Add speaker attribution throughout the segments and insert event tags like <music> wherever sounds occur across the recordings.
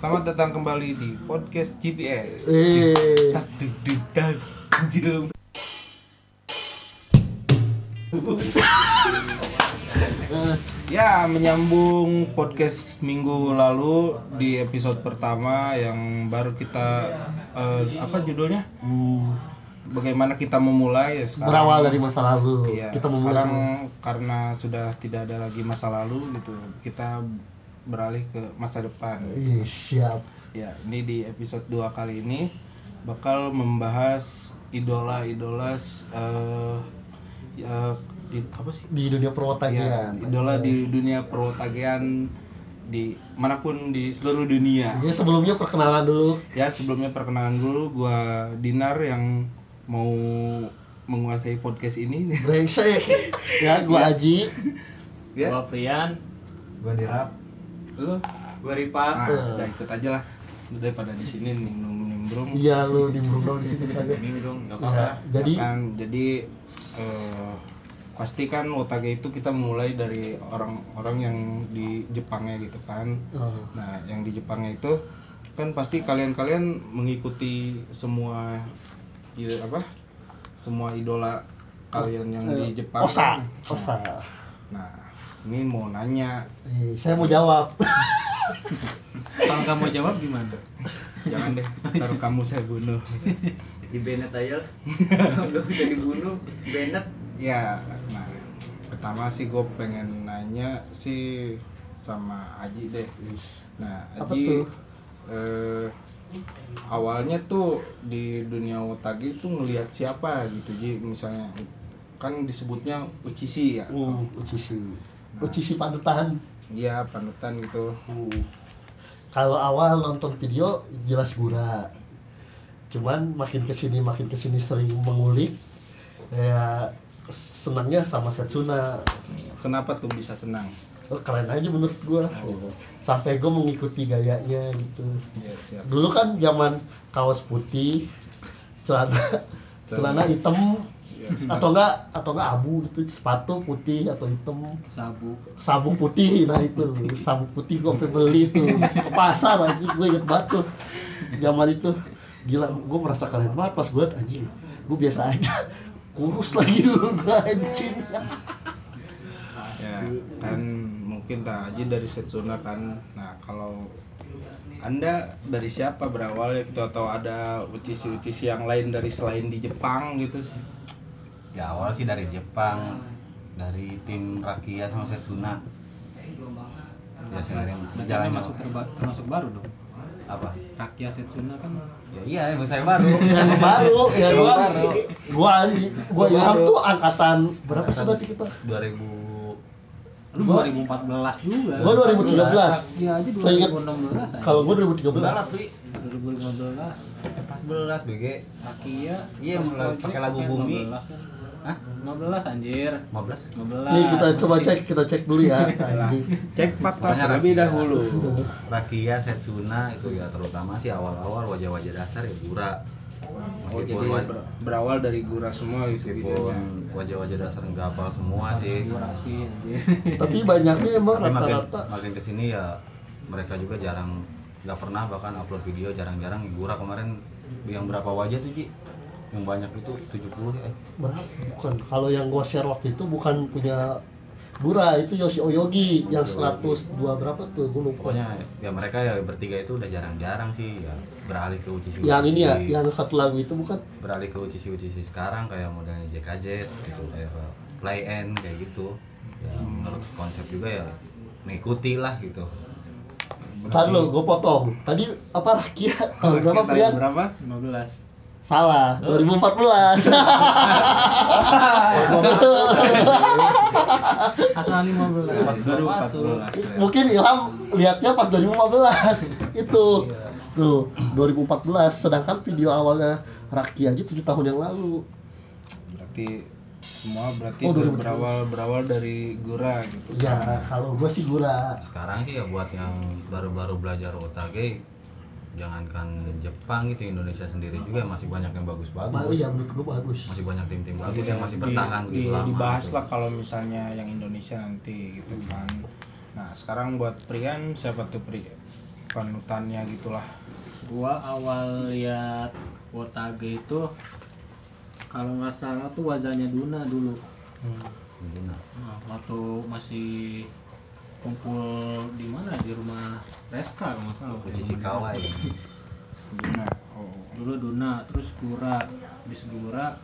Speaker 1: Selamat datang kembali di podcast GPS.
Speaker 2: Eh,
Speaker 1: Tak deg degan anjir.
Speaker 2: eh,
Speaker 1: Ya, menyambung podcast minggu lalu di episode pertama yang baru kita eh, apa judulnya?
Speaker 2: hmm,
Speaker 1: Bagaimana kita memulai ya sekarang.
Speaker 2: berawal dari masa lalu
Speaker 1: Iya,
Speaker 2: kita memulai
Speaker 1: sekarang karena sudah tidak ada lagi masa lalu gitu. Kita beralih ke masa depan.
Speaker 2: Ih, siap
Speaker 1: Ya, ini di episode 2 kali ini bakal membahas idola-idola eh ya, di- apa sih?
Speaker 2: di dunia kan."
Speaker 1: Ya,
Speaker 2: perwotakian
Speaker 1: idola di dunia perwotagian di manapun di seluruh dunia.
Speaker 2: Jadi Iya, sebelumnya perkenalan dulu
Speaker 1: Ya, sebelumnya perkenalan dulu gua Dinar yang mau menguasai podcast ini.
Speaker 2: Iya. brengsek ya
Speaker 1: Iya.
Speaker 2: gua Aji
Speaker 1: ya.
Speaker 3: Gua Prian,
Speaker 4: Gua dirap
Speaker 1: Lu
Speaker 3: gua Ripa.
Speaker 1: nah,
Speaker 2: Eh.
Speaker 1: udah ikut aja lah. Lu daripada di sini nimbrung-nimbrung.
Speaker 2: iya lu di Brunei di situ saja
Speaker 3: Ini dong, enggak
Speaker 2: Ya, jadi
Speaker 1: kan jadi eh, pasti kan otage itu kita mulai dari orang-orang yang di Jepangnya gitu kan
Speaker 2: eh,
Speaker 1: nah yang di Jepangnya itu kan pasti kalian-kalian mengikuti semua i- apa semua idola kalian yang di Jepang
Speaker 2: Osa Osa
Speaker 1: nah ini mau nanya
Speaker 2: Ih, Iya, saya mau jawab
Speaker 3: Kalau kamu jawab gimana?
Speaker 1: jangan deh taruh kamu saya bunuh
Speaker 3: Di Bennett aja. <laughs> Enggak bisa dibunuh, Bennett.
Speaker 1: Ya, nah pertama sih gue pengen nanya sih sama Aji deh. Nah
Speaker 2: Apa
Speaker 1: Aji
Speaker 2: tuh?
Speaker 1: eh, awalnya tuh di dunia otagi tuh ngelihat siapa gitu Ji misalnya kan disebutnya Uchishi ya.
Speaker 2: uh, Uchishi Uchishi panutan
Speaker 1: Iya panutan gitu.
Speaker 2: Uh, kalau awal nonton video jelas gura cuman makin kesini makin kesini sering mengulik ya senangnya sama Setsuna
Speaker 1: Kenapa tuh bisa senang?
Speaker 2: Oh, keren aja menurut gua Oh. sampai gua mengikuti gayanya gitu
Speaker 1: Iya siap.
Speaker 2: dulu kan zaman kaos putih celana celana hitam
Speaker 1: Iya, siap.
Speaker 2: atau enggak atau enggak abu gitu sepatu putih atau hitam
Speaker 3: Sabu.
Speaker 2: sabuk putih nah itu sabuk putih gue sampai beli itu ke pasar anjing gue inget banget tuh zaman itu gila gue merasa keren banget pas gue liat, anjing gue biasa aja kurus lagi dulu gue anjing
Speaker 1: ya kan mungkin tak aja dari Setsuna kan nah kalau anda dari siapa berawal ya gitu atau ada ucisi-ucisi yang lain dari selain di Jepang gitu sih
Speaker 4: Ya awal sih dari Jepang Dari tim Rakia sama Setsuna Ya sendiri
Speaker 3: Berarti
Speaker 4: jalan
Speaker 3: kan masuk terba- termasuk baru dong.
Speaker 4: Apa?
Speaker 3: Rakyat Setsuna kan
Speaker 4: Ya iya emang saya
Speaker 1: <laughs>
Speaker 4: baru
Speaker 2: yang baru ya
Speaker 4: Yang
Speaker 2: gue
Speaker 4: baru.
Speaker 2: gue gue Ilham tuh angkatan berapa sih
Speaker 4: Angkatan
Speaker 2: berarti kita
Speaker 4: 2000
Speaker 3: lu
Speaker 2: Gua-
Speaker 3: 2014 juga.
Speaker 2: gue 2013
Speaker 3: Iya aja
Speaker 2: saya ingat
Speaker 3: 2016. aja.
Speaker 2: kalau gue 2013
Speaker 4: Enggak lah Pri
Speaker 3: 2015
Speaker 4: 14 BG
Speaker 3: Rakia
Speaker 4: Iya, mulai
Speaker 3: Project
Speaker 4: pakai lagu
Speaker 3: kan
Speaker 4: Bumi.
Speaker 3: 15 kan.
Speaker 4: Hah?
Speaker 3: 15 anjir.
Speaker 4: 15
Speaker 3: 15.
Speaker 2: nih kita coba cek kita cek dulu ya
Speaker 1: Nah,
Speaker 2: anjing
Speaker 1: cek fakta
Speaker 4: Makanya
Speaker 1: terlebih
Speaker 4: Rakia.
Speaker 1: dahulu
Speaker 4: Rakia, Setsuna itu ya terutama sih awal-awal wajah-wajah dasar ya Gura
Speaker 1: oh, jadi
Speaker 4: Meskipun, wa-
Speaker 1: ber- berawal dari Gura semua gitu Iya,
Speaker 4: meskipun
Speaker 1: videonya
Speaker 4: wajah-wajah dasar nggak hafal semua sih
Speaker 3: Durasi anjir.
Speaker 2: tapi banyaknya emang
Speaker 4: Tapi makin,
Speaker 2: rata-rata
Speaker 4: makin kesini ya mereka juga jarang nggak pernah bahkan upload video jarang-jarang Gura kemarin yang berapa wajah tuh Ji yang banyak itu 70 eh
Speaker 2: Berapa? Bukan. Kalau yang gua share waktu itu bukan punya Bura, itu Yoshi Oyogi yang 102 berapa tuh gua lupa.
Speaker 4: pokoknya ya mereka ya bertiga itu udah jarang-jarang sih ya beralih ke Ucisi
Speaker 2: yang ini ya, yang satu lagu itu bukan
Speaker 4: beralih ke Ucisi Ucisi sekarang kayak modelnya JKJ gitu kayak play and kayak gitu ya menurut konsep juga ya mengikuti lah gitu
Speaker 2: Bentar lo, gua potong. Tadi apa Rakia? <laughs> Tahun berapa Oh.
Speaker 1: Kita
Speaker 2: Prian?
Speaker 1: berapa
Speaker 3: 15.
Speaker 2: Salah, <laughs> 2014.
Speaker 3: Asal 15.
Speaker 4: Pas baru masuk.
Speaker 1: 2014 ya.
Speaker 2: Mungkin Ilham lihatnya pas 2015 itu. Tuh, 2014 sedangkan video awalnya Rakia aja 7 tahun yang lalu.
Speaker 1: berarti semua berarti
Speaker 2: Oh, 2014.
Speaker 1: berawal berawal dari Gura gitu
Speaker 2: Ya, kalau gua sih Bura.
Speaker 4: sekarang sih ya buat yang baru-baru belajar otage jangankan Jepang gitu Indonesia sendiri juga masih banyak yang
Speaker 2: Baru
Speaker 4: bagus-bagus
Speaker 2: yang Iya, menurut gua bagus. ya.
Speaker 4: masih banyak tim-tim
Speaker 1: Nanti
Speaker 4: bagus yang
Speaker 1: Iya,
Speaker 4: masih
Speaker 1: ya. di-
Speaker 4: bertahan
Speaker 1: di,
Speaker 4: gitu lama
Speaker 1: dibahas
Speaker 4: gitu.
Speaker 1: lah kalau misalnya yang Indonesia nanti gitu kan nah sekarang buat Prian siapa tuh Pri panutannya gitulah
Speaker 5: gua awal lihat Wotage itu kalau nggak salah tuh wajahnya Duna dulu
Speaker 4: Bener.
Speaker 5: Nah, waktu masih kumpul di mana di rumah Reska kalau nggak salah waktu
Speaker 4: Uci
Speaker 5: itu.
Speaker 4: Sikawai.
Speaker 1: Duna oh
Speaker 5: dulu Duna terus Gura habis Gura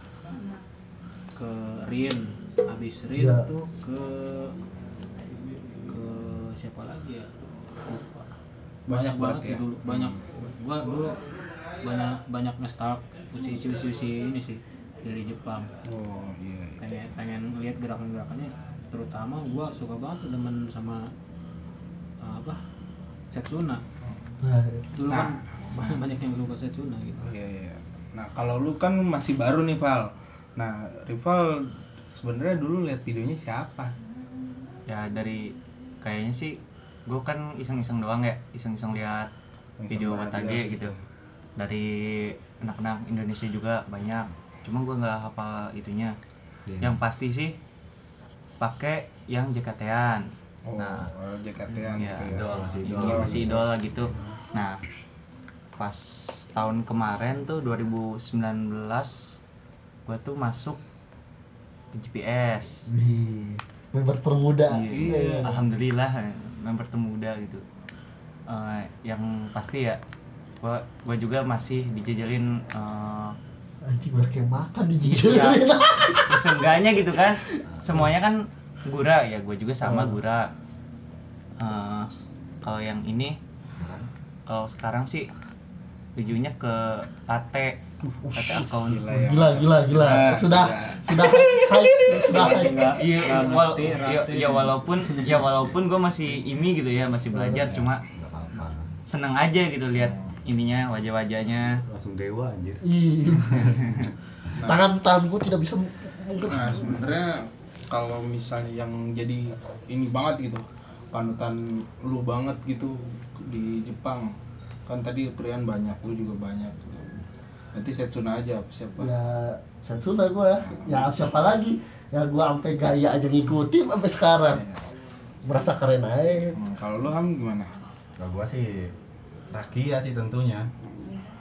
Speaker 5: ke Rin habis Rin
Speaker 2: Ya.
Speaker 5: tuh ke ke siapa lagi ya Lupa.
Speaker 1: Banyak
Speaker 5: banyak,
Speaker 1: banget
Speaker 5: banget
Speaker 1: ya?
Speaker 5: sih dulu banyak gua dulu banyak banyak ngestalk usi usi usi ini sih dari Jepang
Speaker 1: oh iya, iya.
Speaker 5: pengen pengen ngeliat gerakan gerakannya terutama gua suka banget tuh demen sama eh, apa Setsuna
Speaker 2: Nah,
Speaker 5: dulu
Speaker 1: Nah.
Speaker 5: kan <laughs> banyak yang suka Setsuna gitu
Speaker 1: Iya iya. Nah kalau lu kan masih baru nih Val. Nah Rival sebenarnya dulu lihat videonya siapa?
Speaker 6: ya dari kayaknya sih gue kan iseng-iseng doang ya iseng-iseng lihat
Speaker 1: Yang
Speaker 6: video
Speaker 1: sama dia.
Speaker 6: Watage gitu dari anak-anak Indonesia juga banyak cuma gue nggak hafal itunya
Speaker 4: Iya.
Speaker 6: yang pasti sih pakai yang JKT-an
Speaker 1: Oh,
Speaker 6: Nah.
Speaker 1: oh, JKT-an
Speaker 6: ya
Speaker 1: gitu ya.
Speaker 4: Idol masih
Speaker 6: Iya,
Speaker 4: idol.
Speaker 6: masih idola gitu nah pas tahun kemarin tuh 2019 gue tuh masuk ke GPS
Speaker 2: di member termuda.
Speaker 6: Iya.
Speaker 2: Iya.
Speaker 6: Alhamdulillah member termuda gitu. Eh, yang pasti ya gua gua juga masih dijajalin eh
Speaker 2: Anjing udah kayak makan di
Speaker 6: Iya.
Speaker 2: jidat.
Speaker 6: seenggaknya gitu kan. Semuanya kan gura ya gua juga sama
Speaker 2: Hmm.
Speaker 6: gura. Eh, kalau yang ini kalau sekarang sih tujuannya ke Ate Ate akun
Speaker 1: ya.
Speaker 2: Gila, gila, gila. Sudah, sudah hype, sudah hype.
Speaker 5: Enggak,
Speaker 6: Iya,
Speaker 5: Rati,
Speaker 6: wal-
Speaker 5: Rati.
Speaker 6: ya, ya walaupun ya walaupun gue masih ini gitu ya masih belajar cuma
Speaker 4: Gak apa-apa.
Speaker 6: seneng aja gitu lihat ininya
Speaker 2: <laughs>
Speaker 6: wajah-wajahnya
Speaker 4: Langsung dewa anjir.
Speaker 2: Ih.
Speaker 6: Nah.
Speaker 2: Tangan tangan gue tidak bisa
Speaker 1: Nah sebenarnya kalau misalnya yang jadi ini banget gitu panutan lu banget gitu di Jepang kan tadi Prian banyak lu juga banyak gitu. nanti Setsuna aja apa siapa
Speaker 2: ya Setsuna gue ya siapa lagi ya gue sampai gaya aja ngikutin sampai sekarang
Speaker 1: Iya.
Speaker 2: merasa keren aja
Speaker 1: Hmm, kalau lu ham gimana
Speaker 4: Kalau gua sih rakia sih tentunya.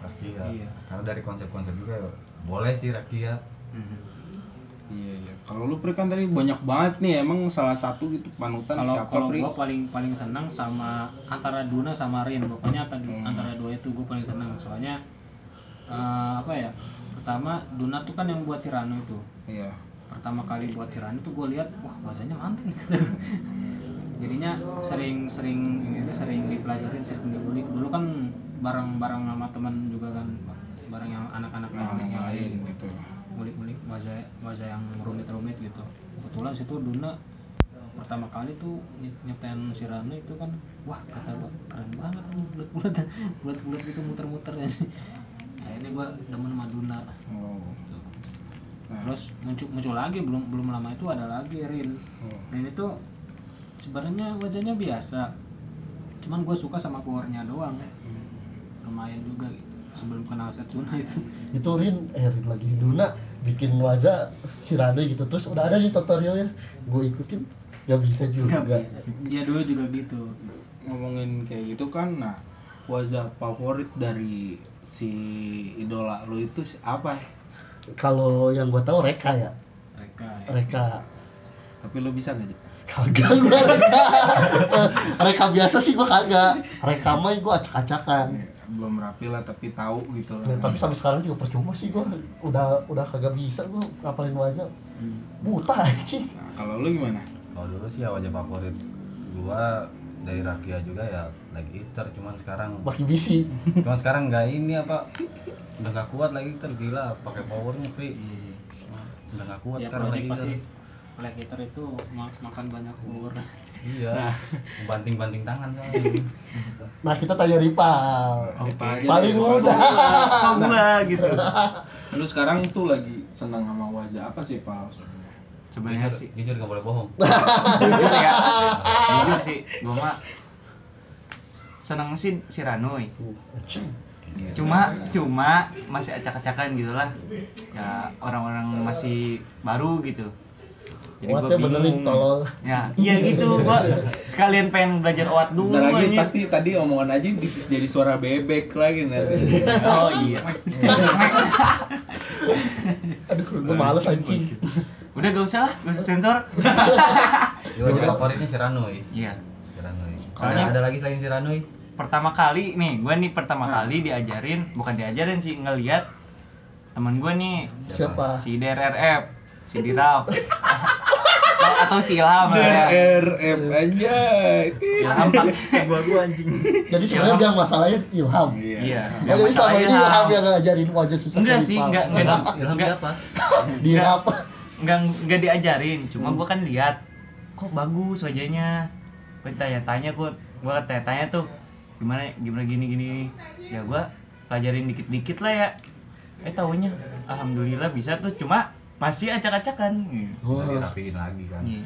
Speaker 4: Rakia.
Speaker 5: Iya.
Speaker 4: Karena dari konsep-konsep juga boleh sih rakia.
Speaker 1: Iya iya. Kalau lu Pri kan tadi banyak banget nih emang salah satu gitu panutan
Speaker 5: kalau
Speaker 1: siapa
Speaker 5: kalau
Speaker 1: Pri?
Speaker 5: gue paling paling senang sama antara Duna sama Rin pokoknya antara,
Speaker 1: Hmm.
Speaker 5: antara dua itu gue paling senang soalnya eh, apa ya pertama Duna tuh kan yang buat si Rano itu
Speaker 1: Iya.
Speaker 5: pertama kali buat si Rano tuh gue lihat wah wajahnya mantep <laughs> jadinya sering-sering ini tuh sering dipelajarin sering digulik dulu kan barang-barang sama teman juga kan barang yang anak-anak
Speaker 1: Nah, yang
Speaker 5: yang
Speaker 1: lain
Speaker 5: lain
Speaker 1: gitu.
Speaker 5: ngulik-ngulik wajah wajah yang rumit-rumit gitu kebetulan situ Duna pertama kali tuh ny- nyetain si Rano itu kan wah kata gua keren banget ini bulat-bulat <laughs> bulat-bulat gitu muter-muter ya <laughs> akhirnya gua demen sama Duna
Speaker 1: Oh. Nah,
Speaker 5: terus muncul muncul lagi belum belum lama itu ada lagi Rin
Speaker 1: oh.
Speaker 5: Rin itu sebenarnya wajahnya biasa cuman gua suka sama powernya doang lumayan juga gitu sebelum kenal Setsuna itu
Speaker 2: itu Rin eh Rin lagi Duna bikin waza sirane gitu terus udah ada nih tutorialnya gue ikutin gak bisa juga
Speaker 5: Nggak bisa. <laughs> dia dulu juga gitu
Speaker 1: ngomongin kayak gitu kan nah wajah favorit dari si idola lu itu si- apa?
Speaker 2: kalau yang gue tahu Reka ya
Speaker 5: mereka ya.
Speaker 2: Reka
Speaker 1: Tapi lu bisa nggak? Dik?
Speaker 2: kagak gue Reka <laughs> Eh, Reka biasa sih gue kagak Reka mah gue acak-acakan
Speaker 1: Ya, Belum rapi lah tapi tahu gitu lah.
Speaker 2: Ya, tapi sampai sekarang juga percuma sih gue udah udah kagak bisa gue ngapalin waza
Speaker 5: Hmm.
Speaker 2: buta anjing
Speaker 1: Nah, kalau lu gimana?
Speaker 4: Kalau dulu sih ya wajah favorit gua dari rakia juga ya lagi iter cuman sekarang
Speaker 2: makin bisi
Speaker 4: cuman sekarang nggak ini apa udah nggak kuat lagi iter gila pakai powernya Pri udah nggak kuat
Speaker 5: ya
Speaker 4: sekarang
Speaker 5: Hmm. kalau
Speaker 4: lagi
Speaker 5: dia pasti
Speaker 4: iter
Speaker 5: oleh hater itu ma- makan banyak bubur
Speaker 4: iya banting banting tangan kan. Iya soalnya
Speaker 2: nah kita tanya rival
Speaker 1: Apa aja
Speaker 2: paling
Speaker 1: deh,
Speaker 2: mudah.
Speaker 6: kok gua gitu
Speaker 1: Lu sekarang tuh lagi senang sama wajah apa sih, Pak?
Speaker 6: sebenarnya
Speaker 4: jujur
Speaker 6: sih
Speaker 4: jujur nggak boleh bohong
Speaker 6: jujur ya jujur sih gua mah seneng sih si Ranui
Speaker 1: Iya.
Speaker 6: cuma cuma masih acak-acakan gitu lah ya orang-orang masih baru gitu Jadi gua
Speaker 2: Oatnya benerin
Speaker 6: bingung.
Speaker 2: tolol.
Speaker 6: Ya, iya gitu. Gua sekalian pengen belajar oat dulu.
Speaker 1: Bentar lagi
Speaker 6: anjing.
Speaker 1: pasti tadi omongan aja di- jadi suara bebek lagi nanti.
Speaker 6: Oh iya.
Speaker 2: Aduh,
Speaker 6: Nah,
Speaker 2: gue males anjing.
Speaker 6: Udah gak usah lah, gak usah sensor.
Speaker 4: Gue favoritnya si Ranui.
Speaker 6: Iya.
Speaker 4: Si Ranui.
Speaker 6: Soalnya-
Speaker 4: Ada, ada lagi selain si Ranui?
Speaker 6: Pertama kali nih, gue nih pertama kali diajarin, bukan diajarin sih ngeliat teman gue nih
Speaker 2: Siapa?
Speaker 6: si DRRF, si Diraf. Atau- atau si Ilham lah ya. Iya.
Speaker 1: DRM aja.
Speaker 6: Ilham pakai
Speaker 4: Gua gua anjing.
Speaker 2: Jadi sebenarnya yang masalahnya Ilham.
Speaker 6: Iya.
Speaker 2: Oh, jadi selama ini Ilham yang ngajarin wajah susah.
Speaker 6: Enggak
Speaker 2: dari
Speaker 6: sih,
Speaker 2: Pang.
Speaker 6: enggak enggak
Speaker 4: Ilham
Speaker 6: enggak
Speaker 4: siapa?
Speaker 2: Di
Speaker 6: enggak.
Speaker 2: apa?
Speaker 6: nggak nggak diajarin cuma gua kan lihat kok bagus wajahnya gue tanya-tanya gue gua tanya-tanya tuh gimana gimana gini gini ya gua pelajarin dikit-dikit lah ya eh tahunya alhamdulillah bisa tuh cuma masih acak-acakan
Speaker 2: Oh,
Speaker 4: Udah dirapiin lagi kan.
Speaker 6: Iya.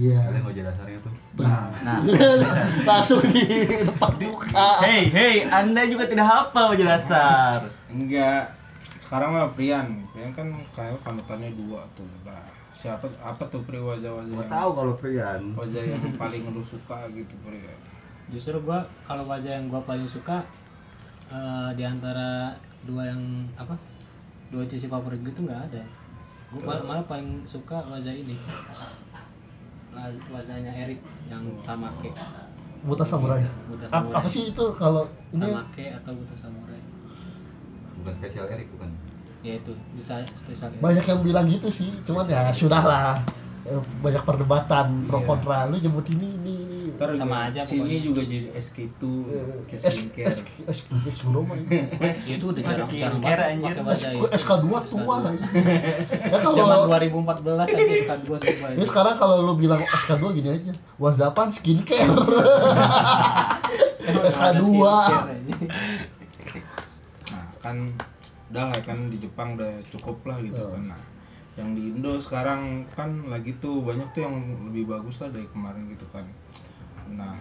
Speaker 2: Iya.
Speaker 4: Kalian wajah dasarnya tuh.
Speaker 6: nah bisa.
Speaker 2: Langsung di depan muka.
Speaker 6: hey hey anda juga tidak hafal wajah dasar
Speaker 1: Enggak. Sekarang mah Prian. Prian kan kayak panutannya dua tuh. Nah, siapa apa tuh Pri wajah-wajah
Speaker 4: Gua
Speaker 1: yang-
Speaker 4: tahu kalau Prian.
Speaker 1: wajah yang <laughs> paling lu suka gitu Pri.
Speaker 5: <laughs> Justru gua kalau wajah yang gua paling suka eh, di antara dua yang apa? Dua sisi favorit gitu nggak ada. Gua mal- malah paling suka wajah ini. Waj- Wajahnya Erik yang tamake.
Speaker 2: Buta samurai.
Speaker 5: Buta
Speaker 2: Ap-
Speaker 5: samurai.
Speaker 2: Apa sih itu kalau ini?
Speaker 5: Tamake atau buta samurai.
Speaker 4: Bukan spesial Erik bukan.
Speaker 5: Ya itu bisa spesial. ya. Erik.
Speaker 2: Banyak yang bilang gitu sih, cuman ya sudah lah. Eh, Banyak perdebatan pro
Speaker 1: Iya.
Speaker 2: kontra. Lu jemput ini, ini, ini.
Speaker 1: Ntar
Speaker 5: Sama
Speaker 1: juga-
Speaker 5: aja
Speaker 1: sini
Speaker 5: pokoknya.
Speaker 1: juga jadi SK2
Speaker 2: Eh,
Speaker 1: kayak
Speaker 2: S
Speaker 1: skincare.
Speaker 2: S S S Guroma ini.
Speaker 5: Wes Ya itu udah
Speaker 6: Mas,
Speaker 5: jarang-jarang banget
Speaker 6: skincare, anjir.
Speaker 5: pakai
Speaker 2: S-
Speaker 5: wajah Iya, itu.
Speaker 2: SK2 tua
Speaker 5: SK2.
Speaker 2: lagi. Ya
Speaker 5: Zaman
Speaker 2: kalau
Speaker 5: 2014 aja SK2 sumpah.
Speaker 2: Ya sekarang kalau lu bilang SK2 gini aja. Wazapan <laughs> skincare.
Speaker 5: Iya. Emang ada
Speaker 2: SK2.
Speaker 5: skincare, anjing.
Speaker 1: Nah, kan udah lah kan di Jepang udah cukup lah gitu
Speaker 4: Eh.
Speaker 2: Hmm.
Speaker 1: kan. Nah, yang di Indo sekarang kan lagi tuh banyak tuh yang lebih bagus lah dari kemarin gitu kan. Nah,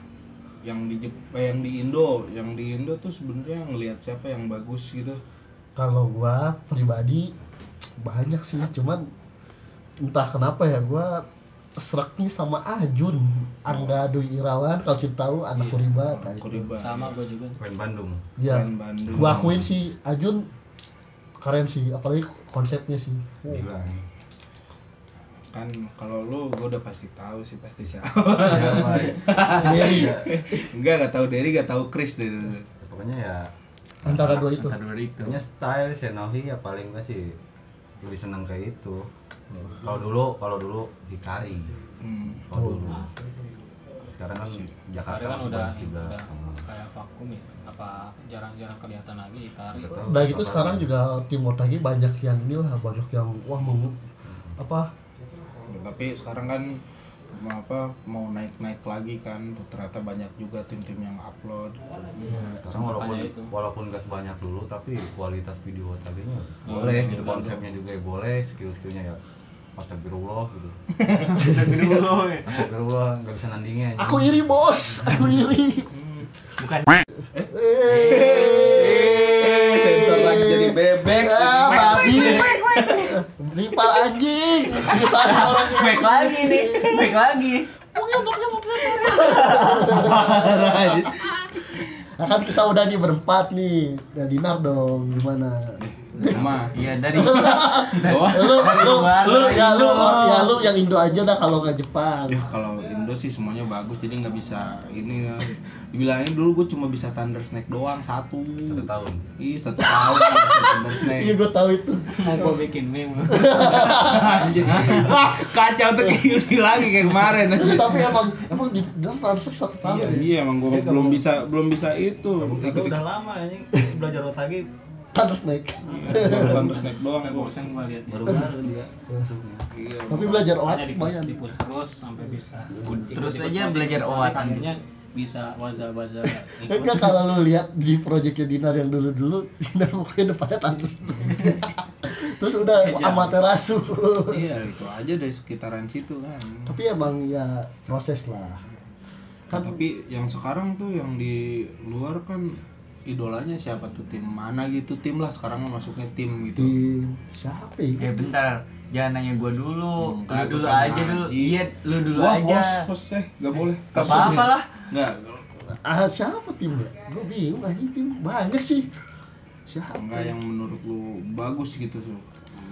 Speaker 1: yang di Jep- eh, yang di Indo, yang di Indo tuh sebenarnya ngelihat siapa yang bagus gitu.
Speaker 2: kalau gua pribadi banyak sih cuman entah kenapa ya gua serak nih sama Ajun Angga Dwi Irawan kalau kita tahu anak Kuriba tai.
Speaker 1: Kuriba.
Speaker 5: Sama gua juga.
Speaker 4: Main Bandung.
Speaker 2: ya
Speaker 1: Keren Bandung.
Speaker 2: Nah, gua akuin sih Ajun keren sih apalagi konsepnya sih
Speaker 4: Gila.
Speaker 1: Kan kalau lu gua udah pasti tahu sih pasti siapa. <laughs>
Speaker 2: Iya.
Speaker 4: Siapa? Iya,
Speaker 2: Dari
Speaker 1: Enggak, gak tahu Derry, gak tahu Chris deh.
Speaker 4: <laughs> Pokoknya ya
Speaker 2: antara dua itu
Speaker 6: Antara dua itu
Speaker 4: Kayaknya style Shenohi ya paling gue sih lebih seneng kayak itu. Kalau dulu, kalau dulu Hikari.
Speaker 1: Hmm.
Speaker 4: Kalau dulu. Sekarang kan
Speaker 5: Sekarang
Speaker 4: Jakarta
Speaker 5: kan
Speaker 4: masih
Speaker 5: udah,
Speaker 4: banyak juga.
Speaker 5: udah
Speaker 4: Hmm.
Speaker 5: kayak vakum ya apa jarang-jarang kelihatan lagi Ikari
Speaker 4: Nggak tahu
Speaker 2: udah gitu
Speaker 4: apa-apa.
Speaker 2: sekarang juga Timur lagi banyak yang inilah banyak yang wah mau apa
Speaker 1: tapi sekarang kan mau apa mau naik naik lagi kan ternyata banyak juga tim-tim yang upload gitu.
Speaker 2: ya,
Speaker 4: Sekarang walaupun
Speaker 5: Makanya itu.
Speaker 4: walaupun gak sebanyak dulu, tapi kualitas video OTB-nya
Speaker 5: Hmm,
Speaker 4: boleh,
Speaker 5: iya,
Speaker 4: gitu
Speaker 5: betul.
Speaker 4: konsepnya juga ya boleh, skill-skillnya ya Astagfirullah gitu.
Speaker 6: Bisa gede dulu, ya.
Speaker 4: <laughs> Astagfirullah nggak bisa nandingnya.
Speaker 2: aku iri bos aku iri
Speaker 6: Bukan.
Speaker 2: Eh,
Speaker 1: sensor lagi jadi bebek.
Speaker 2: Ah, babi. Ripal anjing. Biasanya orang
Speaker 6: gitu. <laughs> Baik lagi nih, baik lagi.
Speaker 2: Nah, kan kita udah nih berempat nih. Dan dinar dong gimana?
Speaker 1: Rumah.
Speaker 6: Iya <laughs> dari
Speaker 1: Wah.
Speaker 2: Lu
Speaker 6: Dari
Speaker 2: lu
Speaker 6: luar,
Speaker 2: lu
Speaker 6: dari
Speaker 2: ya lu
Speaker 6: Indo.
Speaker 2: ya lu yang Indo aja dah kalau nggak Jepang.
Speaker 1: Ya kalau Indo sih semuanya bagus jadi nggak bisa ini ya. dibilangin dulu gue cuma bisa thunder snack doang satu.
Speaker 4: Satu tahun.
Speaker 1: Ih satu tahun nggak bisa thunder snack.
Speaker 2: Iya gua tahu itu.
Speaker 5: mau gua bikin meme
Speaker 1: Wah kacau tuh kayak gini lagi kayak kemarin.
Speaker 2: Iya, tapi emang emang di dinar harusnya satu
Speaker 1: Iya,
Speaker 2: tahun. ya.
Speaker 1: iya emang gue belum bisa belum bisa itu.
Speaker 4: Kalau
Speaker 1: Belum bisa
Speaker 4: itu udah
Speaker 1: ketik-
Speaker 4: lama anjing belajar otage
Speaker 2: Thunder Snake.
Speaker 1: Iya. baru thunder snack doang
Speaker 5: sampai
Speaker 1: gua.
Speaker 5: bosan gua liatnya
Speaker 4: baru-baru dia masuknya.
Speaker 1: Iya,
Speaker 2: Tapi belajar oat
Speaker 5: Makanya dipus,
Speaker 2: lumayan.
Speaker 5: dipus terus sampai bisa
Speaker 6: Oh, Terus
Speaker 5: Ikut-ikut
Speaker 6: aja
Speaker 5: project,
Speaker 6: belajar
Speaker 5: nanti
Speaker 6: oat,
Speaker 5: akhirnya bisa
Speaker 6: <laughs>
Speaker 5: wajah-wajah ikut
Speaker 2: Enggak kalau lu lihat di proyeknya Dinar yang dulu-dulu, <laughs> Dinar mungkin depannya Thunder
Speaker 1: <laughs>
Speaker 2: Snake. Terus udah amaterasu.
Speaker 1: Iya itu aja dari sekitaran situ kan.
Speaker 2: tapi emang ya proses lah kan
Speaker 1: Tapi yang sekarang tuh yang di luar kan idolanya siapa tuh tim mana gitu tim lah sekarang mah masuknya tim gitu.
Speaker 2: di siapa ya
Speaker 6: Eh bentar, jangan nanya gua dulu
Speaker 1: Hmm,
Speaker 6: lu dulu
Speaker 1: kagak
Speaker 6: aja
Speaker 1: pernah
Speaker 6: dulu
Speaker 1: haji.
Speaker 6: iya lu dulu
Speaker 1: Wah,
Speaker 6: aja
Speaker 1: host, host deh, gak boleh.
Speaker 6: gak apa-apa lah
Speaker 1: Nggak,
Speaker 2: Ah, siapa timnya? Gue bingung anjing tim banyak sih. Siapa?
Speaker 1: enggak yang menurut lu bagus gitu tuh.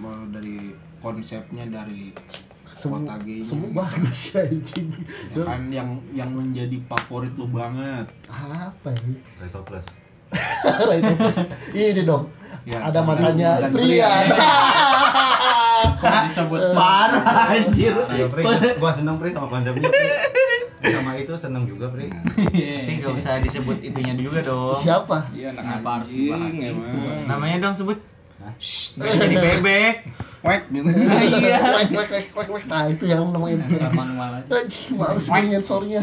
Speaker 1: Mau Dari konsepnya dari
Speaker 2: semua,
Speaker 1: kota gaynya.
Speaker 2: semua bagus ya anjing.
Speaker 1: ya kan yang yang menjadi favorit lu banget.
Speaker 2: Apa ini? <laughs>
Speaker 4: Reto Plus.
Speaker 2: Rai Tempes. Ini dong.
Speaker 1: Ya,
Speaker 2: ada
Speaker 1: karena
Speaker 2: matanya
Speaker 1: bukan
Speaker 2: Prian.
Speaker 1: <laughs> Kalau disebut
Speaker 6: parah anjir
Speaker 4: Iya, Pri. Gua seneng Pri sama konsepnya Pri. Sama itu seneng juga Pri.
Speaker 6: tapi gak usah disebut itunya juga dong
Speaker 2: Siapa?
Speaker 1: Iya, anak
Speaker 6: Kenapa harus dibahas
Speaker 1: anjing
Speaker 6: itu?
Speaker 1: emang.
Speaker 6: namanya dong sebut
Speaker 4: Hah?
Speaker 6: Nggak jadi
Speaker 1: Iya.
Speaker 6: bebek
Speaker 1: Wek gitu. <laughs>
Speaker 6: iya.
Speaker 2: <laughs> Wek, wek, wek, wek, wek. Nah, itu yang nemuin.
Speaker 1: <laughs>
Speaker 5: Ntar manual aja.
Speaker 2: Anjing, males gue sensornya. <laughs>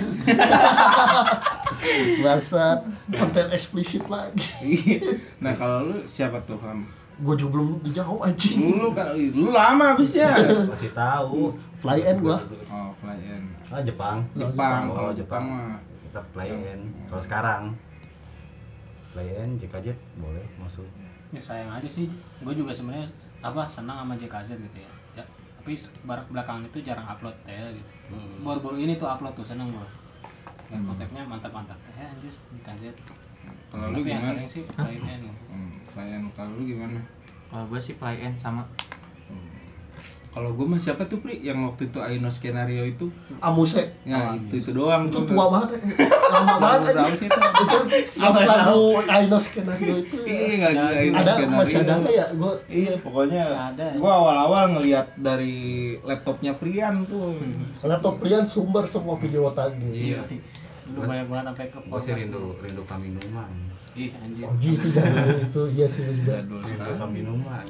Speaker 2: Bangsat, konten eksplisit lagi.
Speaker 1: nah, kalau lu siapa tuh, Ham?
Speaker 2: Gue juga belum dijawab anjing.
Speaker 1: Lu kan lu lama habisnya.
Speaker 4: Pasti tahu.
Speaker 2: Fly N gua.
Speaker 1: Oh, klien.
Speaker 4: Ah, Jepang.
Speaker 1: Jepang,
Speaker 4: Oh,
Speaker 1: kalau Jepang
Speaker 4: Jepang.
Speaker 1: mah
Speaker 4: Kita play N. Kalau sekarang play N JKJ boleh masuk.
Speaker 5: ya sayang aja sih gue juga sebenarnya apa senang sama JKZ gitu ya, ya tapi barak belakangan itu jarang upload ya gitu
Speaker 6: Hmm.
Speaker 5: baru-baru ini tuh upload tuh seneng gue ya, konsepnya mantap-mantap ya anjir JKZ
Speaker 1: kalau lu
Speaker 5: tapi yang
Speaker 1: gimana?
Speaker 5: sering sih lain
Speaker 1: Hmm, klien kalau lu gimana?
Speaker 6: kalau gua sih play and sama
Speaker 1: Kalau gue mah siapa tuh Pri yang waktu itu Aino skenario itu?
Speaker 2: Amuse.
Speaker 1: Ya itu itu doang
Speaker 2: Itu
Speaker 1: tuh.
Speaker 2: tua banget. ya. Lama
Speaker 1: Lagu berapa
Speaker 2: banget. anjing. <laughs>
Speaker 1: sih itu?
Speaker 2: Itu lagu Aino skenario itu.
Speaker 1: Iya nggak ada Aino
Speaker 2: Ada
Speaker 1: skenario.
Speaker 2: masih ada nggak ya? Gue
Speaker 1: Iya pokoknya
Speaker 5: Ada.
Speaker 1: gua awal-awal ngelihat dari laptopnya Prian tuh.
Speaker 2: Hmm. laptop Prian sumber semua video
Speaker 1: Iya.
Speaker 2: tadi.
Speaker 5: dulu banyak banget sampai ke
Speaker 4: Gua sih Oh, rindu rindu kami minuman.
Speaker 5: ih anjir
Speaker 2: Oh gitu jadul itu iya sih juga.
Speaker 1: Jadul
Speaker 4: Rindu
Speaker 1: sekali.
Speaker 4: kami minuman.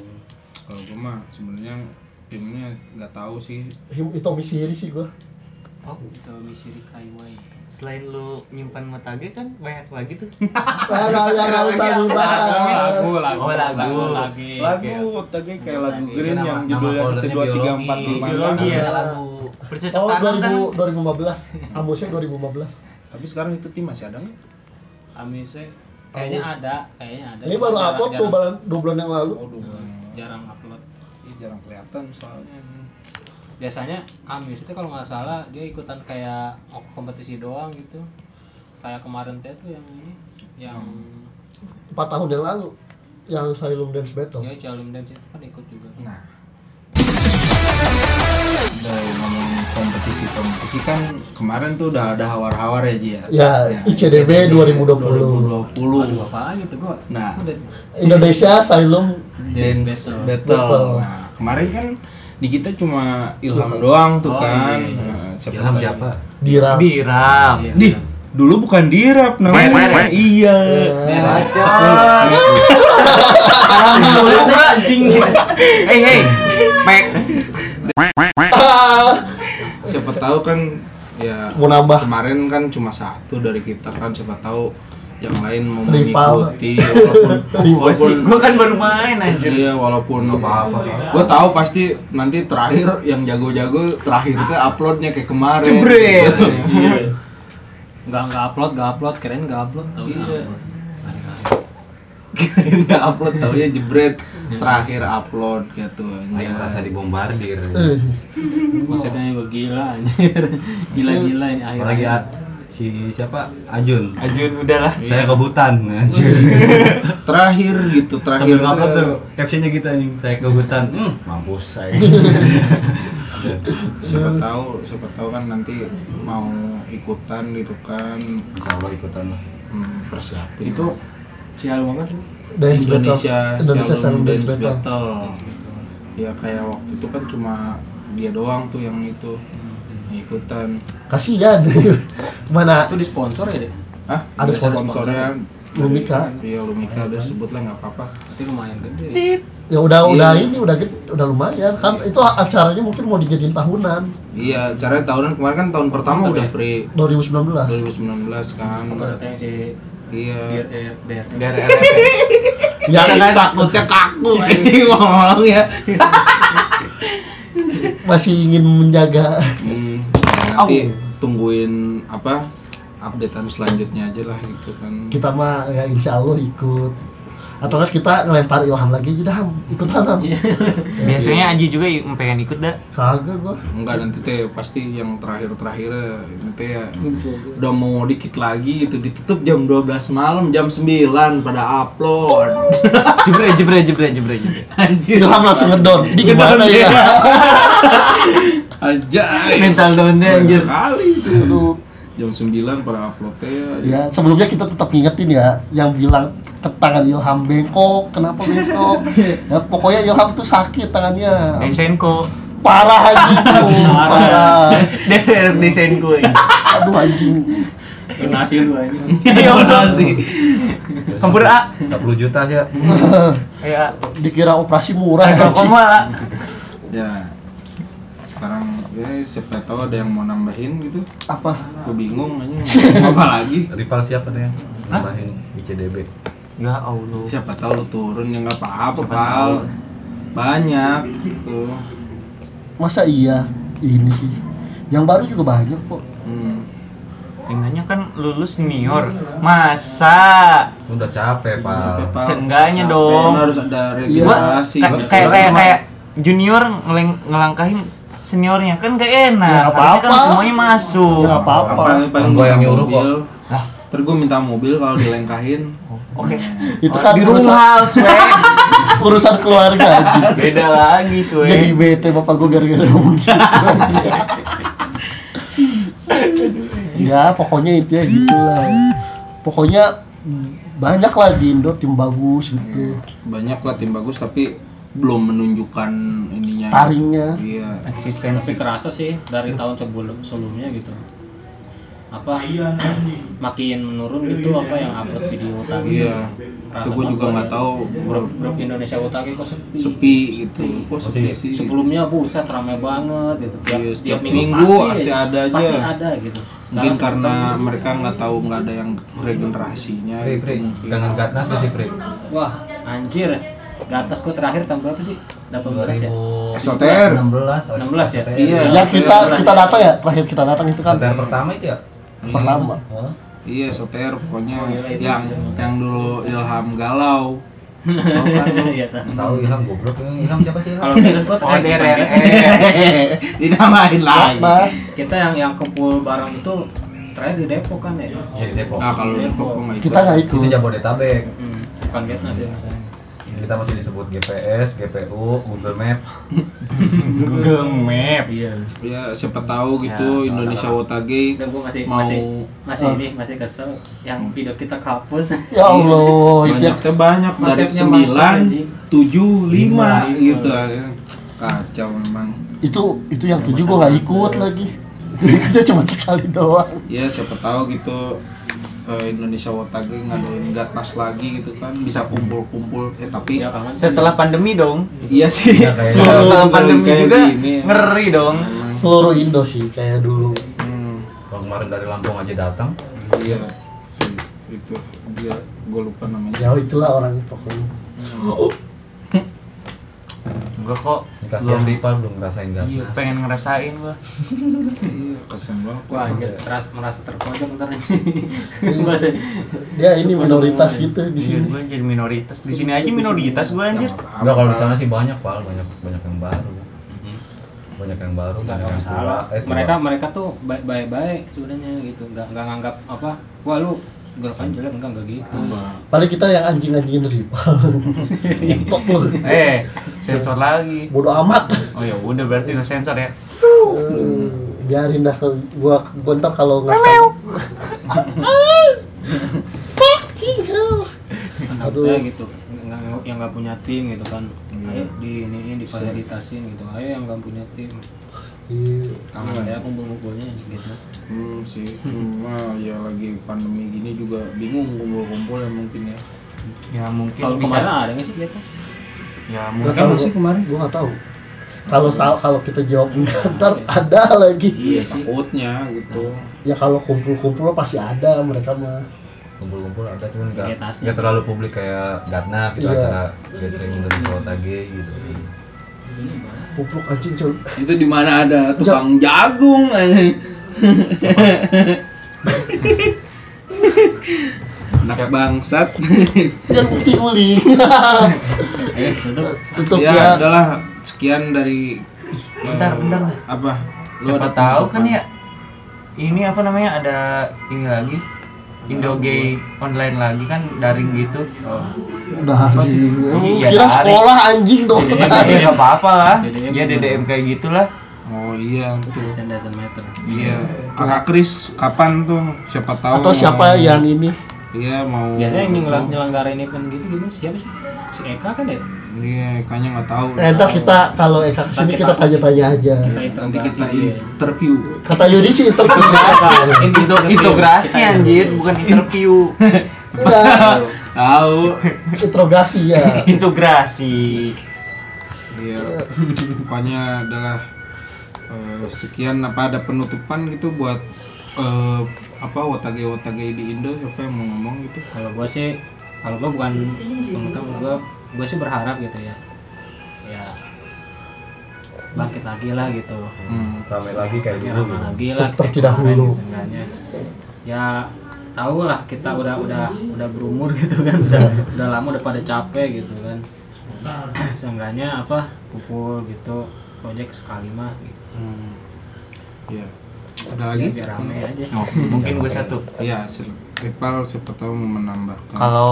Speaker 1: Kalau gue mah sebenarnya timnya nggak tahu sih.
Speaker 2: Itu misiri sih gue.
Speaker 6: oh
Speaker 5: itu Mishiri Kaiwai
Speaker 6: selain lu nyimpan motage kan banyak lagi tuh
Speaker 2: Nah, nah, nah, nggak usah dibahas.
Speaker 5: lagu lagu
Speaker 6: Oh, lagu.
Speaker 5: lagu lagi
Speaker 1: Lagu tadi kayak lagu
Speaker 4: Itu
Speaker 1: Green
Speaker 4: nama-
Speaker 1: yang
Speaker 4: nama
Speaker 1: judulnya
Speaker 4: foldernya
Speaker 1: kedua tiga
Speaker 4: biologi.
Speaker 1: empat lima.
Speaker 6: biologi ya
Speaker 2: Iya.
Speaker 6: lagu bercocok
Speaker 2: Oh
Speaker 6: tanam kan
Speaker 2: 2000, 2015. Amusnya 2015.
Speaker 1: Tapi sekarang itu tim masih ada nggak?
Speaker 5: Amise kayaknya
Speaker 2: Bagus.
Speaker 5: ada kayaknya ada
Speaker 2: Ini baru
Speaker 5: Jarang-
Speaker 2: upload tuh
Speaker 5: jarang-
Speaker 2: bulan dua bulan yang lalu.
Speaker 1: Oh, dua.
Speaker 5: jarang upload
Speaker 1: Ih, jarang kelihatan soalnya.
Speaker 5: biasanya Amis itu kalau nggak salah dia ikutan kayak kompetisi doang gitu kayak kemarin teh tuh yang ini yang
Speaker 2: Empat tahun yang lalu yang Sailum Dance Battle.
Speaker 5: dia Jalim Dance itu kan ikut juga
Speaker 1: Nah, dari ngomongin kompetisi-kompetisi kan kemarin tuh udah ada hawar-hawar ya Ji ya.
Speaker 2: Ya, ICDB 2020.
Speaker 1: 2020.
Speaker 5: apaan itu gua
Speaker 1: Nah,
Speaker 5: udah
Speaker 2: Indonesia Sailum
Speaker 1: dance
Speaker 5: Battle.
Speaker 1: battle.
Speaker 2: Battle.
Speaker 1: Nah, kemarin kan di kita cuma Ilham doang tuh
Speaker 6: Oh,
Speaker 1: kan.
Speaker 6: iya, iya.
Speaker 1: Nah, siapa
Speaker 4: Ilham
Speaker 1: tahu.
Speaker 4: siapa?
Speaker 2: Dira.
Speaker 6: biram
Speaker 5: Iya,
Speaker 1: Di, dulu bukan Dirap namanya. Iya.
Speaker 2: Ya.
Speaker 6: anjing <laughs> hey <laughs> hey mek
Speaker 1: Siapa tahu kan ya
Speaker 2: Mau nambah
Speaker 1: kemarin kan cuma satu dari kita kan siapa tahu yang lain mau
Speaker 2: Rival.
Speaker 1: mengikuti walaupun
Speaker 6: gua sih
Speaker 1: walaupun
Speaker 6: gua kan baru main anjir
Speaker 1: Iya walaupun
Speaker 4: apa-apa.
Speaker 1: Gue tahu pasti nanti terakhir yang jago-jago terakhir tuh uploadnya kayak kemarin.
Speaker 6: Jebret.
Speaker 1: Iya.
Speaker 5: nggak nggak upload nggak upload keren nggak upload tau
Speaker 1: Iya.
Speaker 5: upload.
Speaker 1: Nggak upload taunya jebret terakhir upload gitu.
Speaker 4: Ayo merasa dibombardir.
Speaker 2: eh,
Speaker 5: konsepnya juga gila anjir <laughs> gila gila ini akhirnya
Speaker 4: Apalagi
Speaker 1: ya?
Speaker 4: A- si siapa? Ajun.
Speaker 6: Ajun udahlah
Speaker 4: Saya ke hutan. Ajun.
Speaker 1: Terakhir gitu terakhir.
Speaker 4: Sambil ngupload
Speaker 1: tuh,
Speaker 4: tuh captionnya gitu anjing. Saya ke hutan. Hmm, mampus <laughs> saya.
Speaker 1: Siapa tahu siapa tahu kan nanti mau ikutan gitu kan
Speaker 4: Insya Allah ikutan lah.
Speaker 1: hmm, persiapin.
Speaker 5: itu sial banget
Speaker 2: Dance
Speaker 1: Indonesia
Speaker 2: Battle. Indonesia Sailum
Speaker 1: Shalom
Speaker 2: Dance
Speaker 1: Dance
Speaker 2: Battle.
Speaker 1: Battle. Ya kayak waktu itu kan cuma dia doang tuh yang itu yang ikutan.
Speaker 2: Kasihan. <laughs> Mana
Speaker 5: itu di sponsor ya deh
Speaker 1: Hah?
Speaker 2: Ada
Speaker 1: Ada
Speaker 2: sponsor-
Speaker 1: sponsornya
Speaker 2: Lumika.
Speaker 1: Iya Lumika udah sebut lah nggak apa-apa.
Speaker 5: tapi lumayan gede
Speaker 2: Ya udah
Speaker 1: Iya.
Speaker 2: udah ini udah gede- udah lumayan kan itu acaranya mungkin mau dijadiin tahunan
Speaker 1: Iya, caranya tahunan kemarin kan tahun pertama
Speaker 5: Mantap
Speaker 1: udah
Speaker 5: ya.
Speaker 1: pre
Speaker 2: 2019.
Speaker 1: 2019 kan.
Speaker 5: kata yang si
Speaker 1: Iya.
Speaker 5: biar
Speaker 1: Dari <laughs> RRF.
Speaker 2: Yang takutnya kaku.
Speaker 1: Ini ngomong ya.
Speaker 2: Masih ingin menjaga
Speaker 1: Hmm, nanti tungguin apa updatean selanjutnya aja lah gitu kan.
Speaker 2: kita mah ya insya Allah ikut atau enggak kita ngelempar Ilham lagi udah Ham ikut Ham
Speaker 6: Biasanya Aji juga i- pengen ikut dah.
Speaker 2: kagak gua
Speaker 1: Enggak nanti teh pasti yang terakhir-terakhir ini teh ya
Speaker 2: Muncul.
Speaker 1: udah mau dikit lagi itu ditutup jam 12 malam jam 9 pada upload.
Speaker 6: Jebre jebre jebre jebre jebre.
Speaker 2: Ilham langsung ngedon di gimana ya
Speaker 1: Aja
Speaker 6: Mental downnya anjir.
Speaker 1: sekali itu.
Speaker 2: Aduh.
Speaker 1: Jam 9 pada upload teh ya.
Speaker 2: Ya, sebelumnya kita tetap ngingetin ya yang bilang ke tangan Ilham bengkok, kenapa bengkok? Ya, pokoknya Ilham tuh sakit tangannya.
Speaker 6: Iya. <laughs> Desenko.
Speaker 2: Parah anjing tuh, parah.
Speaker 6: Derek Desenko. ini.
Speaker 2: Aduh anjing.
Speaker 3: donasi lu aja
Speaker 6: Ya Allah sih. Kampur A.
Speaker 4: 10 juta sih ya.
Speaker 6: Ayo A.
Speaker 2: Dikira operasi murah
Speaker 6: Ayo
Speaker 2: anjing.
Speaker 6: koma A.
Speaker 1: Ya. Sekarang ya siapa tahu ada yang mau nambahin gitu.
Speaker 2: Apa?
Speaker 1: Gue bingung anjing mau apa lagi.
Speaker 4: Rival siapa tuh ya?
Speaker 6: Hah?
Speaker 4: Nambahin ICDB.
Speaker 6: Ya Allah.
Speaker 1: Siapa tahu lu turun ya nggak apa-apa,
Speaker 6: Siapa
Speaker 1: Pal.
Speaker 6: tahu.
Speaker 1: Banyak gitu. tuh.
Speaker 2: Masa iya ini sih. Yang baru juga banyak kok.
Speaker 1: Hmm.
Speaker 6: Pengennya kan lulus senior. Masa
Speaker 4: Lu Udah capek,
Speaker 1: Tapi,
Speaker 4: Pak.
Speaker 1: ya, Pal,
Speaker 6: Seenggaknya
Speaker 1: capek,
Speaker 6: dong.
Speaker 1: lu harus ada
Speaker 6: gua
Speaker 1: regulasi.
Speaker 6: ka-
Speaker 1: Iya Betul. Iya,
Speaker 6: kayak kayak kayak junior ngeleng- ngelangkahin seniornya kan gak
Speaker 2: Ya,
Speaker 6: enak. Harusnya kan
Speaker 2: apa-apa.
Speaker 6: semuanya masuk.
Speaker 2: Ya
Speaker 1: apa
Speaker 2: apa-apa.
Speaker 1: paling
Speaker 4: Gua yang
Speaker 1: minta
Speaker 4: nyuruh kok.
Speaker 1: mobil.
Speaker 6: Lah.
Speaker 1: Ntar gua minta mobil kalau dilengkahin.
Speaker 6: Oke.
Speaker 2: Itu
Speaker 6: Oh,
Speaker 2: kan
Speaker 6: di
Speaker 2: urusan-
Speaker 6: rumah Swe.
Speaker 2: Urusan keluarga anjing.
Speaker 6: Beda lagi Swe.
Speaker 2: Jadi bete bapak gue gara-gara <laughs> ngomong gitu. ya pokoknya intinya gitu lah. Pokoknya mm, banyak lah di Indo tim bagus gitu.
Speaker 1: Hmm. Banyak lah tim bagus tapi belum menunjukkan ininya.
Speaker 2: Taringnya.
Speaker 1: Iya.
Speaker 5: tapi
Speaker 6: eksistensi.
Speaker 5: kerasa sih dari tahun sebelum sebelumnya gitu apa makin menurun gitu apa yang upload video utama
Speaker 1: Iya.
Speaker 5: Kerasa
Speaker 1: Itu gua juga
Speaker 5: banget
Speaker 1: nggak
Speaker 5: ya.
Speaker 1: tahu
Speaker 5: grup,
Speaker 1: grup
Speaker 5: grup Indonesia Utara kok sepi.
Speaker 1: sepi gitu. Kok sepi sih?
Speaker 5: sebelumnya buset rame banget gitu tiap,
Speaker 1: Iya,
Speaker 5: tiap
Speaker 1: setiap
Speaker 5: minggu,
Speaker 1: minggu
Speaker 5: pasti ya.
Speaker 1: pasti ada aja.
Speaker 5: pasti ada gitu
Speaker 1: Mungkin
Speaker 5: Sekarang
Speaker 1: karena
Speaker 5: sekarang,
Speaker 1: mereka nggak tahu nggak ada yang regenerasinya
Speaker 4: Pri,
Speaker 1: gitu
Speaker 4: Pri.
Speaker 1: mungkin.
Speaker 4: Dengan Gatnas masih Pri.
Speaker 5: wah anjir gatas gua terakhir tahun berapa sih 18 ya
Speaker 4: 2000
Speaker 1: SOTR.
Speaker 4: 16
Speaker 5: 16 ya?
Speaker 1: Iya.
Speaker 2: Ya kita kita datang ya terakhir kita datang itu kan
Speaker 4: SOTR pertama itu ya?
Speaker 2: pertama.
Speaker 4: Hah?
Speaker 1: Iya, soter pokoknya
Speaker 5: Oh, iya, itu.
Speaker 1: yang yang dulu Ilham galau. Tahu kan lu?
Speaker 5: <laughs> <laughs> Iya, tahu.
Speaker 4: Tahu Ilham goblok. Ilham siapa sih?
Speaker 5: kalau <laughs>
Speaker 4: Ilham?
Speaker 5: gatas gua
Speaker 1: Oh,
Speaker 5: terakhir
Speaker 1: DRRE. <laughs> Dinamain lagi.
Speaker 2: Mas,
Speaker 5: kita yang yang kumpul bareng itu terakhir di Depok kan ya
Speaker 4: Iya, di Depok.
Speaker 1: Nah, kalau di Depok gua nggak ikut.
Speaker 2: kita nggak ikut.
Speaker 4: Itu Jabodetabek.
Speaker 5: hmm, bukan Vietnam dia masalahnya
Speaker 4: Kita masih disebut GPS, GPU, Google Map.
Speaker 6: Google Map. Iya.
Speaker 1: Ya, siapa tahu gitu
Speaker 4: Ya,
Speaker 1: Indonesia Wotage
Speaker 5: Dan gue masih
Speaker 1: mau
Speaker 5: masih masih
Speaker 2: Ah.
Speaker 5: ini masih kesel yang video kita
Speaker 4: <laughs>
Speaker 5: kehapus.
Speaker 2: Ya Allah, itu ya.
Speaker 1: banyak teh banyak dari
Speaker 5: Marketnya
Speaker 1: sembilan
Speaker 5: mantap, anjing.
Speaker 1: tujuh lima
Speaker 5: Lima.
Speaker 1: gitu kacau memang
Speaker 2: itu itu yang tujuh gue nggak ikut lagi. <laughs> Gue ikutnya cuma sekali doang.
Speaker 1: ya siapa tahu gitu eh, Indonesia Wotage ngadain gatnas lagi gitu kan bisa kumpul-kumpul eh tapi
Speaker 5: Ya, kangen.
Speaker 6: Setelah pandemi dong.
Speaker 1: iya sih
Speaker 4: Ya, kayak-
Speaker 1: selalu
Speaker 6: Setelah pandemi
Speaker 1: kayak
Speaker 6: juga
Speaker 1: gini.
Speaker 6: ngeri dong.
Speaker 1: Emang.
Speaker 2: Seluruh Indo sih kayak dulu.
Speaker 1: Hmm,
Speaker 4: Kalau kemarin dari Lampung aja datang.
Speaker 1: iya si itu dia gue lupa namanya
Speaker 2: Ya itulah orangnya pokoknya.
Speaker 6: Gua kok
Speaker 4: Ini Kasihan
Speaker 6: belum
Speaker 4: Rival belum ngerasain
Speaker 6: Iya,
Speaker 4: Gatnas.
Speaker 6: pengen ngerasain gua.
Speaker 1: iya kasian banget
Speaker 5: Wah anjir, teras, merasa terpojok ntar
Speaker 4: <laughs>
Speaker 5: Mhm. Gua ada-
Speaker 2: Dia ini minoritas gitu di
Speaker 6: Iya,
Speaker 2: sini.
Speaker 6: gua jadi minoritas. Di sini aja minoritas gua anjir.
Speaker 4: Enggak kalau di sana sih banyak, Pak. Banyak banyak yang baru. Banyak yang baru,
Speaker 5: Nggak
Speaker 4: banyak
Speaker 5: ada
Speaker 4: yang tua.
Speaker 5: masalah.
Speaker 4: Eh, tua.
Speaker 5: mereka mereka tuh baik baik baik sebenarnya gitu nggak nggak nganggap apa wah lu girlfriend jelek enggak enggak gitu
Speaker 2: Paling kita yang anjing-anjingin rival. TikTok lu.
Speaker 6: Eh, sensor lagi.
Speaker 2: Bodoh amat.
Speaker 6: Oh ya udah berarti nggak sensor ya.
Speaker 2: Eh, biarin dah kalau gua gua ntar kalau nggak sama. Fucking hell.
Speaker 5: Aduh.
Speaker 2: Aduh.
Speaker 5: gitu nggak nggak- yang nggak punya tim gitu kan ayo di ini difasilitasin gitu ayo yang nggak punya tim
Speaker 2: Iya.
Speaker 5: kangen ya kumpul kumpulnya gitu
Speaker 1: hmm sih
Speaker 6: <laughs>
Speaker 1: cuma ya lagi pandemi gini juga bingung kumpul-kumpul ya mungkin ya
Speaker 6: Ya mungkin
Speaker 5: kalau
Speaker 6: bisa.
Speaker 5: kemarin ada nggak sih di atas
Speaker 2: Nggak
Speaker 6: Ya mungkin
Speaker 2: tahu
Speaker 1: Emang sih kemarin?
Speaker 2: Gua nggak tahu. Kalau sal- kalau kita jawab enggak, ntar ada lagi.
Speaker 1: iya takutnya gitu
Speaker 6: Nah.
Speaker 2: Ya kalau kumpul-kumpul mah pasti ada mereka mah.
Speaker 4: kumpul-kumpul ada cuman nggak
Speaker 5: Kegiatannya.
Speaker 4: nggak terlalu publik kayak Gatnas gitu
Speaker 2: Iya.
Speaker 4: acara gathering dari Kotage gitu
Speaker 2: Kumpul anjing jauh.
Speaker 1: itu di mana ada tukang jagung eh. anjing. <laughs> anak anak bangsat
Speaker 2: Jangan bukti uli. Tutup
Speaker 1: ya
Speaker 2: ya.
Speaker 1: adalah sekian dari eh,
Speaker 6: Bentar, bentar lah.
Speaker 1: apa Lu
Speaker 6: Siapa
Speaker 1: ada
Speaker 6: tahu
Speaker 1: penutupan?
Speaker 6: kan ya ini apa namanya ada ini lagi Indogay online lagi kan daring gitu.
Speaker 5: Oh,
Speaker 2: Udah anjing. Lu
Speaker 6: Iya,
Speaker 2: Kira
Speaker 6: tarik.
Speaker 2: sekolah anjing dong.
Speaker 5: Iya,
Speaker 6: Ya nggak apa-apa lah.
Speaker 5: DDM.
Speaker 6: Ya DDM kayak gitulah.
Speaker 1: oh iya betul.
Speaker 5: Kristen doesn't matter.
Speaker 1: iya kakak Kris kapan tuh siapa tahu
Speaker 2: Atau siapa
Speaker 1: mau-
Speaker 2: yang ini?
Speaker 1: iya mau
Speaker 5: Biasanya yang
Speaker 1: itu.
Speaker 5: nyelang- nyelenggarain event gitu gimana siapa sih? Si Eka kan ya?
Speaker 1: iya kayaknya nggak tahu
Speaker 6: Eh,
Speaker 2: Enak kita kalau Eka kesini kita tanya-tanya aja.
Speaker 1: nanti kita
Speaker 5: interogasi dia.
Speaker 1: interview
Speaker 2: Kata Yudi sih interpretasi.
Speaker 6: Indo integrasi
Speaker 5: Kita-
Speaker 6: anjir, bukan
Speaker 5: <laughs>
Speaker 6: interview.
Speaker 2: Enggak,
Speaker 1: tahu
Speaker 2: interogasi ya.
Speaker 6: integrasi.
Speaker 1: iya <laughs> pokoknya adalah eh, sekian apa ada penutupan gitu buat eh, apa watage watage di Indo siapa yang mau ngomong gitu
Speaker 5: kalau gue sih kalau gue bukan penutup gue gue sih berharap gitu ya ya bangkit lagi lah gitu
Speaker 1: Hmm.
Speaker 4: Ramai lagi kayak
Speaker 5: Ya,
Speaker 4: dulu
Speaker 5: lama
Speaker 4: gitu.
Speaker 5: lagi lah
Speaker 2: Seperti
Speaker 5: kayak kemarin
Speaker 2: dahulu.
Speaker 5: seenggaknya. ya tahu lah kita udah udah udah berumur <laughs> gitu kan udah, udah lama udah pada capek gitu kan <clears throat> seenggaknya apa kumpul gitu project sekali mah gitu.
Speaker 1: Hmm. Iya. Ada lagi?
Speaker 5: Ya, biar rame aja
Speaker 6: Oh,
Speaker 5: <laughs>
Speaker 6: mungkin gue satu.
Speaker 1: Iya, sil- Ripal siapa tahu mau menambahkan.
Speaker 2: Hmm.
Speaker 6: Kalau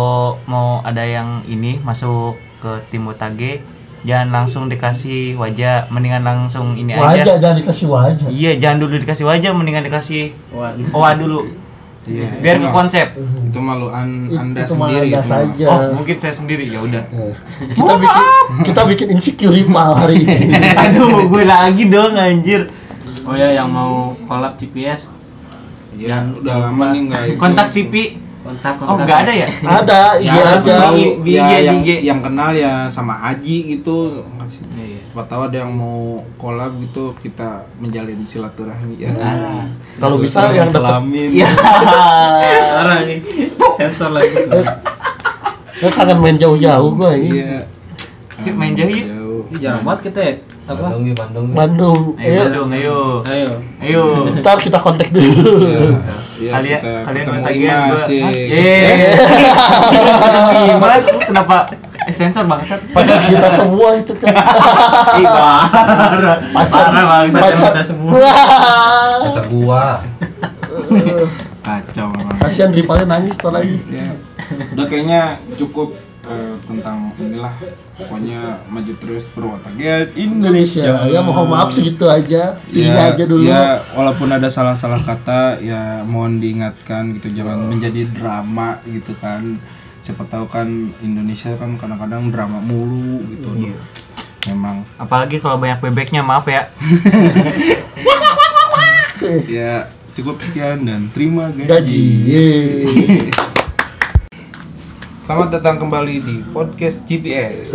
Speaker 6: mau ada yang ini masuk ke tim Otage, jangan langsung dikasih wajah, mendingan langsung ini
Speaker 2: Wajah
Speaker 6: aja.
Speaker 2: jangan dikasih wajah.
Speaker 6: Iya, jangan dulu dikasih wajah, mendingan dikasih
Speaker 5: Waduh.
Speaker 6: owa dulu.
Speaker 1: Iya,
Speaker 6: Biar
Speaker 1: itu
Speaker 6: ke
Speaker 1: mah-
Speaker 6: konsep.
Speaker 1: Itu malu an- Anda
Speaker 2: Itu mah
Speaker 1: sendiri. itu
Speaker 2: Anda
Speaker 1: mah.
Speaker 2: saja.
Speaker 6: Oh, mungkin saya sendiri ya udah. <laughs>
Speaker 2: Eh, Kita bikin kita bikin insecure mal hari ini.
Speaker 6: Aduh, gue lagi dong anjir.
Speaker 5: oh ya yang mau collab GPS
Speaker 1: Iya, udah lama nih enggak itu.
Speaker 6: Kontak CP.
Speaker 5: kontak
Speaker 6: Oh,
Speaker 5: kontak
Speaker 6: enggak ada ya?
Speaker 2: Ada,
Speaker 1: Ya,
Speaker 2: iya
Speaker 1: harus
Speaker 2: aja.
Speaker 1: tahu.
Speaker 6: Di- di
Speaker 1: Ya,
Speaker 6: IG, di
Speaker 1: yang,
Speaker 6: IG.
Speaker 1: yang kenal ya sama Aji gitu. Kasih-
Speaker 5: Iya, iya.
Speaker 1: Siapa tahu ada yang mau collab gitu kita menjalin silaturahmi
Speaker 2: Nah,
Speaker 1: ya.
Speaker 6: Ah.
Speaker 2: Kalau bisa yang dapat Iya,
Speaker 1: Kelamin.
Speaker 6: Ya.
Speaker 5: Parah nih. Sensor lagi.
Speaker 2: Eh. gue kangen main jauh-jauh gue ini.
Speaker 1: Iya.
Speaker 6: Yuk, main jauh yuk.
Speaker 1: Jauh. Nah.
Speaker 5: Ini jarang banget kita ya. Apa?
Speaker 4: Bandung nih, Bandung. nih.
Speaker 2: Bandung.
Speaker 6: Ayo
Speaker 2: Iya.
Speaker 6: dong, ayo.
Speaker 5: Ayo.
Speaker 6: Ayo.
Speaker 2: Ntar kita kontak dulu.
Speaker 1: Iya, iya,
Speaker 6: kalian
Speaker 1: kita
Speaker 6: kalian
Speaker 1: ketemu
Speaker 6: ketagihan
Speaker 1: Ima,
Speaker 6: gua.
Speaker 1: si-
Speaker 6: Hah? Iya, Yeay.
Speaker 2: <laughs>
Speaker 6: Imas lu kenapa eh, sensor bangsat?
Speaker 2: Pacar kita semua itu kan.
Speaker 6: Ih, parah.
Speaker 2: Pacar.
Speaker 6: Parah bangsat.
Speaker 2: Pacar.
Speaker 5: kita semua.
Speaker 2: Wah.
Speaker 4: <laughs> Pacar gua.
Speaker 1: Kacau memang.
Speaker 2: Kasihan rivalnya nangis tuh lagi.
Speaker 1: ya udah kayaknya cukup eh, tentang inilah pokoknya maju terus perwatagian Indonesia
Speaker 2: Indonesia. Ya mohon maaf segitu aja. Sini
Speaker 1: Ya,
Speaker 2: aja dulu.
Speaker 1: ya walaupun ada salah-salah kata ya mohon diingatkan gitu
Speaker 2: Oh.
Speaker 1: jangan menjadi drama gitu kan siapa tahu kan Indonesia kan kadang-kadang drama mulu gitu
Speaker 2: Iya.
Speaker 1: memang
Speaker 6: Apalagi kalau banyak bebeknya, maaf ya.
Speaker 2: Oke.
Speaker 1: ya cukup sekian dan terima gaji,
Speaker 2: <laughs> Gaji. Yeay.
Speaker 1: Iya. <laughs> selamat datang kembali di podcast GPS